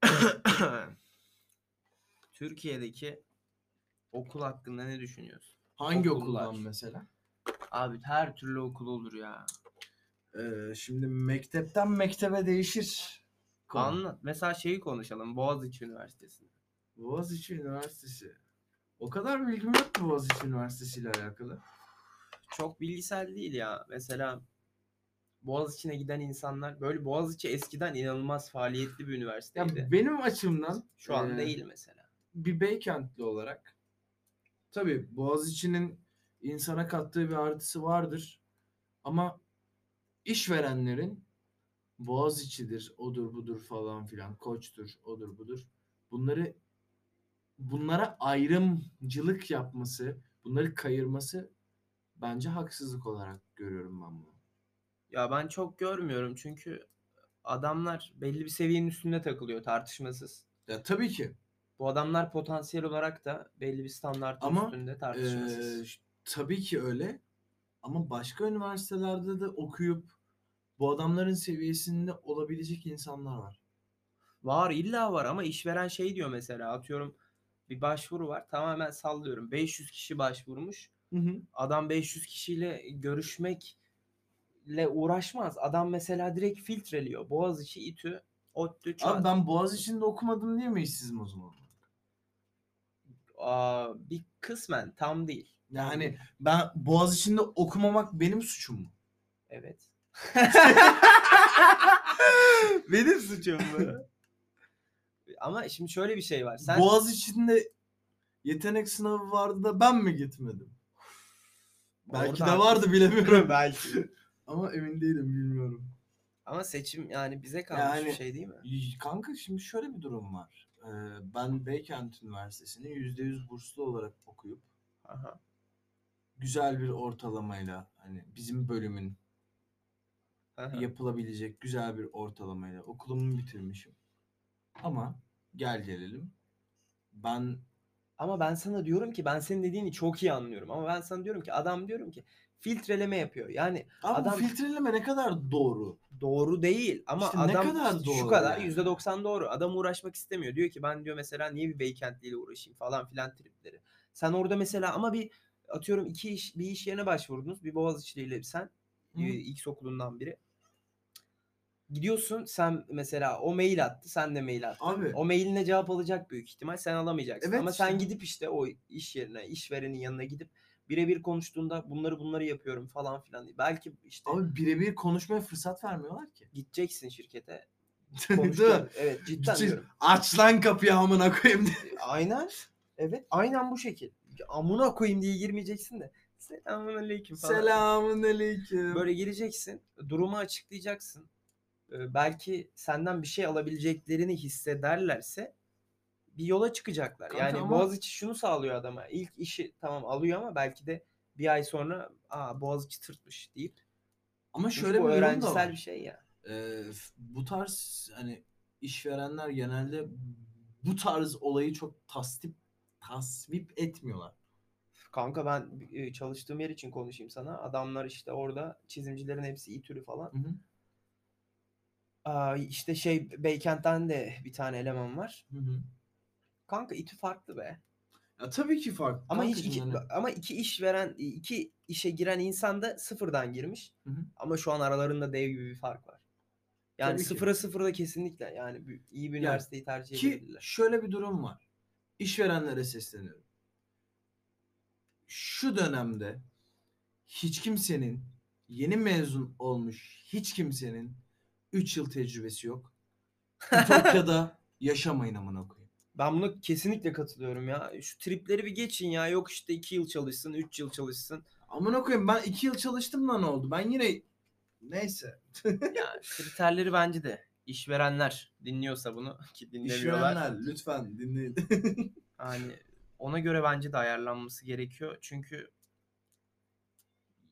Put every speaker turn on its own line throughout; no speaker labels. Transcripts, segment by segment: Türkiye'deki okul hakkında ne düşünüyorsun?
Hangi
Okuldan
okullar? mesela?
Abi her türlü okul olur ya.
Ee, şimdi mektepten mektebe değişir. konu.
Anlat. Mesela şeyi konuşalım. Boğaziçi Üniversitesi'nde.
Boğaziçi Üniversitesi. O kadar bilgim yok ki Boğaziçi Üniversitesi ile alakalı.
Çok bilgisel değil ya. Mesela Boğaziçi'ne giden insanlar böyle Boğaziçi eskiden inanılmaz faaliyetli bir
Ya
üniversiteydi.
benim açımdan
Şu an
e,
değil mesela.
bir Beykentli olarak tabii Boğaziçi'nin insana kattığı bir artısı vardır. Ama işverenlerin Boğaziçi'dir, odur budur falan filan, koçtur, odur budur. Bunları bunlara ayrımcılık yapması, bunları kayırması bence haksızlık olarak görüyorum ben bunu.
Ya ben çok görmüyorum çünkü adamlar belli bir seviyenin üstünde takılıyor tartışmasız.
Ya tabii ki
Bu adamlar potansiyel olarak da belli bir standartın
Ama,
üstünde
Ee,
tartışmasız.
ş- tabii ki öyle. Ama başka üniversitelerde de okuyup bu adamların seviyesinde olabilecek insanlar var.
Var illa var ama işveren şey diyor mesela atıyorum bir başvuru var tamamen sallıyorum 500 kişi başvurmuş adam 500 kişiyle görüşmekle uğraşmaz adam mesela direkt filtreliyor Boğaziçi İTÜ ODTÜ
Abi
ÇAD
ben Boğaziçi'nde okumadım diye mi işsizim o zaman?
Aa, bir kısmen tam değil
Yani ben Boğaziçi'nde okumamak benim suçum mu?
evet benim suçum bu ama şimdi şöyle bir şey var sen
Boğaziçi'nde yetenek sınavı vardı da ben mi gitmedim? Belki
Orada
de vardı bilemiyorum.
belki
Ama emin değilim bilmiyorum.
ama seçim yani bize kalmış bir
Yani-
şey değil mi
Y- Kanka şimdi şöyle bir durum var. Ee, ben Beykent Üniversitesi'ni %100 burslu olarak okuyup
Aha.
güzel bir ortalamayla hani bizim bölümün
Aha.
yapılabilecek güzel bir ortalamayla okulumu bitirmişim. Ama gel gelelim. Ben
Ama ben sana diyorum ki ben senin dediğini çok iyi anlıyorum. Ama ben sana diyorum ki adam diyorum ki filtreleme yapıyor. Yani
Abi bu
Adam-
filtreleme ne kadar doğru?
doğru değil ama
İşte ne
adam
kadar
şu
doğru
kadar
yani?
yüzde %90 doğru. Adam uğraşmak istemiyor. Diyor ki ben diyor mesela niye bir beykentliyle uğraşayım falan filan tripleri. Sen orada mesela ama bir atıyorum iki iş bir iş yerine başvurdunuz. Bir Boğaziçi'liyle sen e,
Hı.
X okulundan biri. Gidiyorsun sen mesela o mail attı sen de mail attın.
Abi
O mailine cevap alacak büyük ihtimal. Sen alamayacaksın.
Evet
Ama sen
işte.
gidip işte o iş yerine, işverenin yanına gidip birebir konuştuğunda bunları bunları yapıyorum falan filan. Belki işte
abi birebir konuşmaya fırsat vermiyorlar ki.
gideceksin şirkete.
Değil mi?
konuşacaksın. evet cidden
Bütün-
diyorum.
Aç lan kapıyı amına koyayım diye.
Aynen. Evet aynen bu şekil. Amına koyayım diye girmeyeceksin de. Selamünaleyküm falan.
Selamun aleyküm.
Böyle gireceksin. Durumu açıklayacaksın. Ee, Belki senden bir şey alabileceklerini hissederlerse bir yola çıkacaklar.
Kanka
yani
ama-
Boğaziçi şunu sağlıyor adama. İlk işi tamam alıyor ama belki de bir ay sonra aa Boğaziçi tırtmış deyip.
Ama
Çünkü bu
şöyle bir durum da
öğrencisel
var.
bir şey ya.
Ee, f- bu tarz hani işverenler genelde bu tarz olayı çok tasdip tasvip etmiyorlar.
Kanka ben e, çalıştığım yer için konuşayım sana. Adamlar işte orada çizimcilerin hepsi İTÜ'lü falan.
Hı hı.
Aa, işte şey Beykent'ten de bir tane eleman var.
Hı hı.
Kanka İTÜ farklı be.
Ya tabii ki farklı.
Ama hiç
kankacığım
iki,
yani.
ama iki iş veren iki işe giren insan da sıfırdan girmiş.
Hı hı.
Ama şu an aralarında dev gibi bir fark var. Yani
Tabii ki.
sıfıra sıfırda kesinlikle yani bir- iyi bir
Ya
üniversiteyi tercih
Ki
edebilirler.
şöyle bir durum var. İşverenlere sesleniyorum. Şu dönemde hiç kimsenin yeni mezun olmuş hiç kimsenin 3 yıl tecrübesi yok. Ütopya'da yaşamayın amına koyayım.
Ben buna kesinlikle katılıyorum ya. Şu tripleri bir geçin ya. Yok işte 2 yıl çalışsın, 3 yıl çalışsın.
Amına koyayım ben 2 yıl çalıştım da ne oldu? Ben yine neyse.
Yani kriterleri bence de işverenler dinliyorsa bunu ki dinlemiyorlar.
İşverenler lütfen dinleyin.
Yani ona göre bence de ayarlanması gerekiyor. Çünkü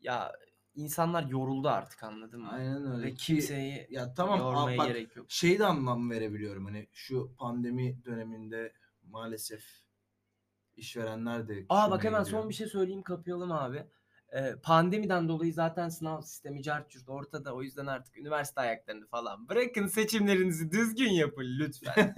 ya insanlar yoruldu artık anladın mı?
Aynen öyle.
Ve
Ki-
kimseyi
ya tamam
yormaya
a- bak
gerek yok.
şey de anlam verebiliyorum hani şu pandemi döneminde maalesef işverenler de
Aa bak hemen son bir şey söyleyeyim kapayalım abi. Ee, pandemiden dolayı zaten sınav sistemi cart curt ortada. O yüzden artık üniversite ayaklarını falan bırakın seçimlerinizi düzgün yapın lütfen.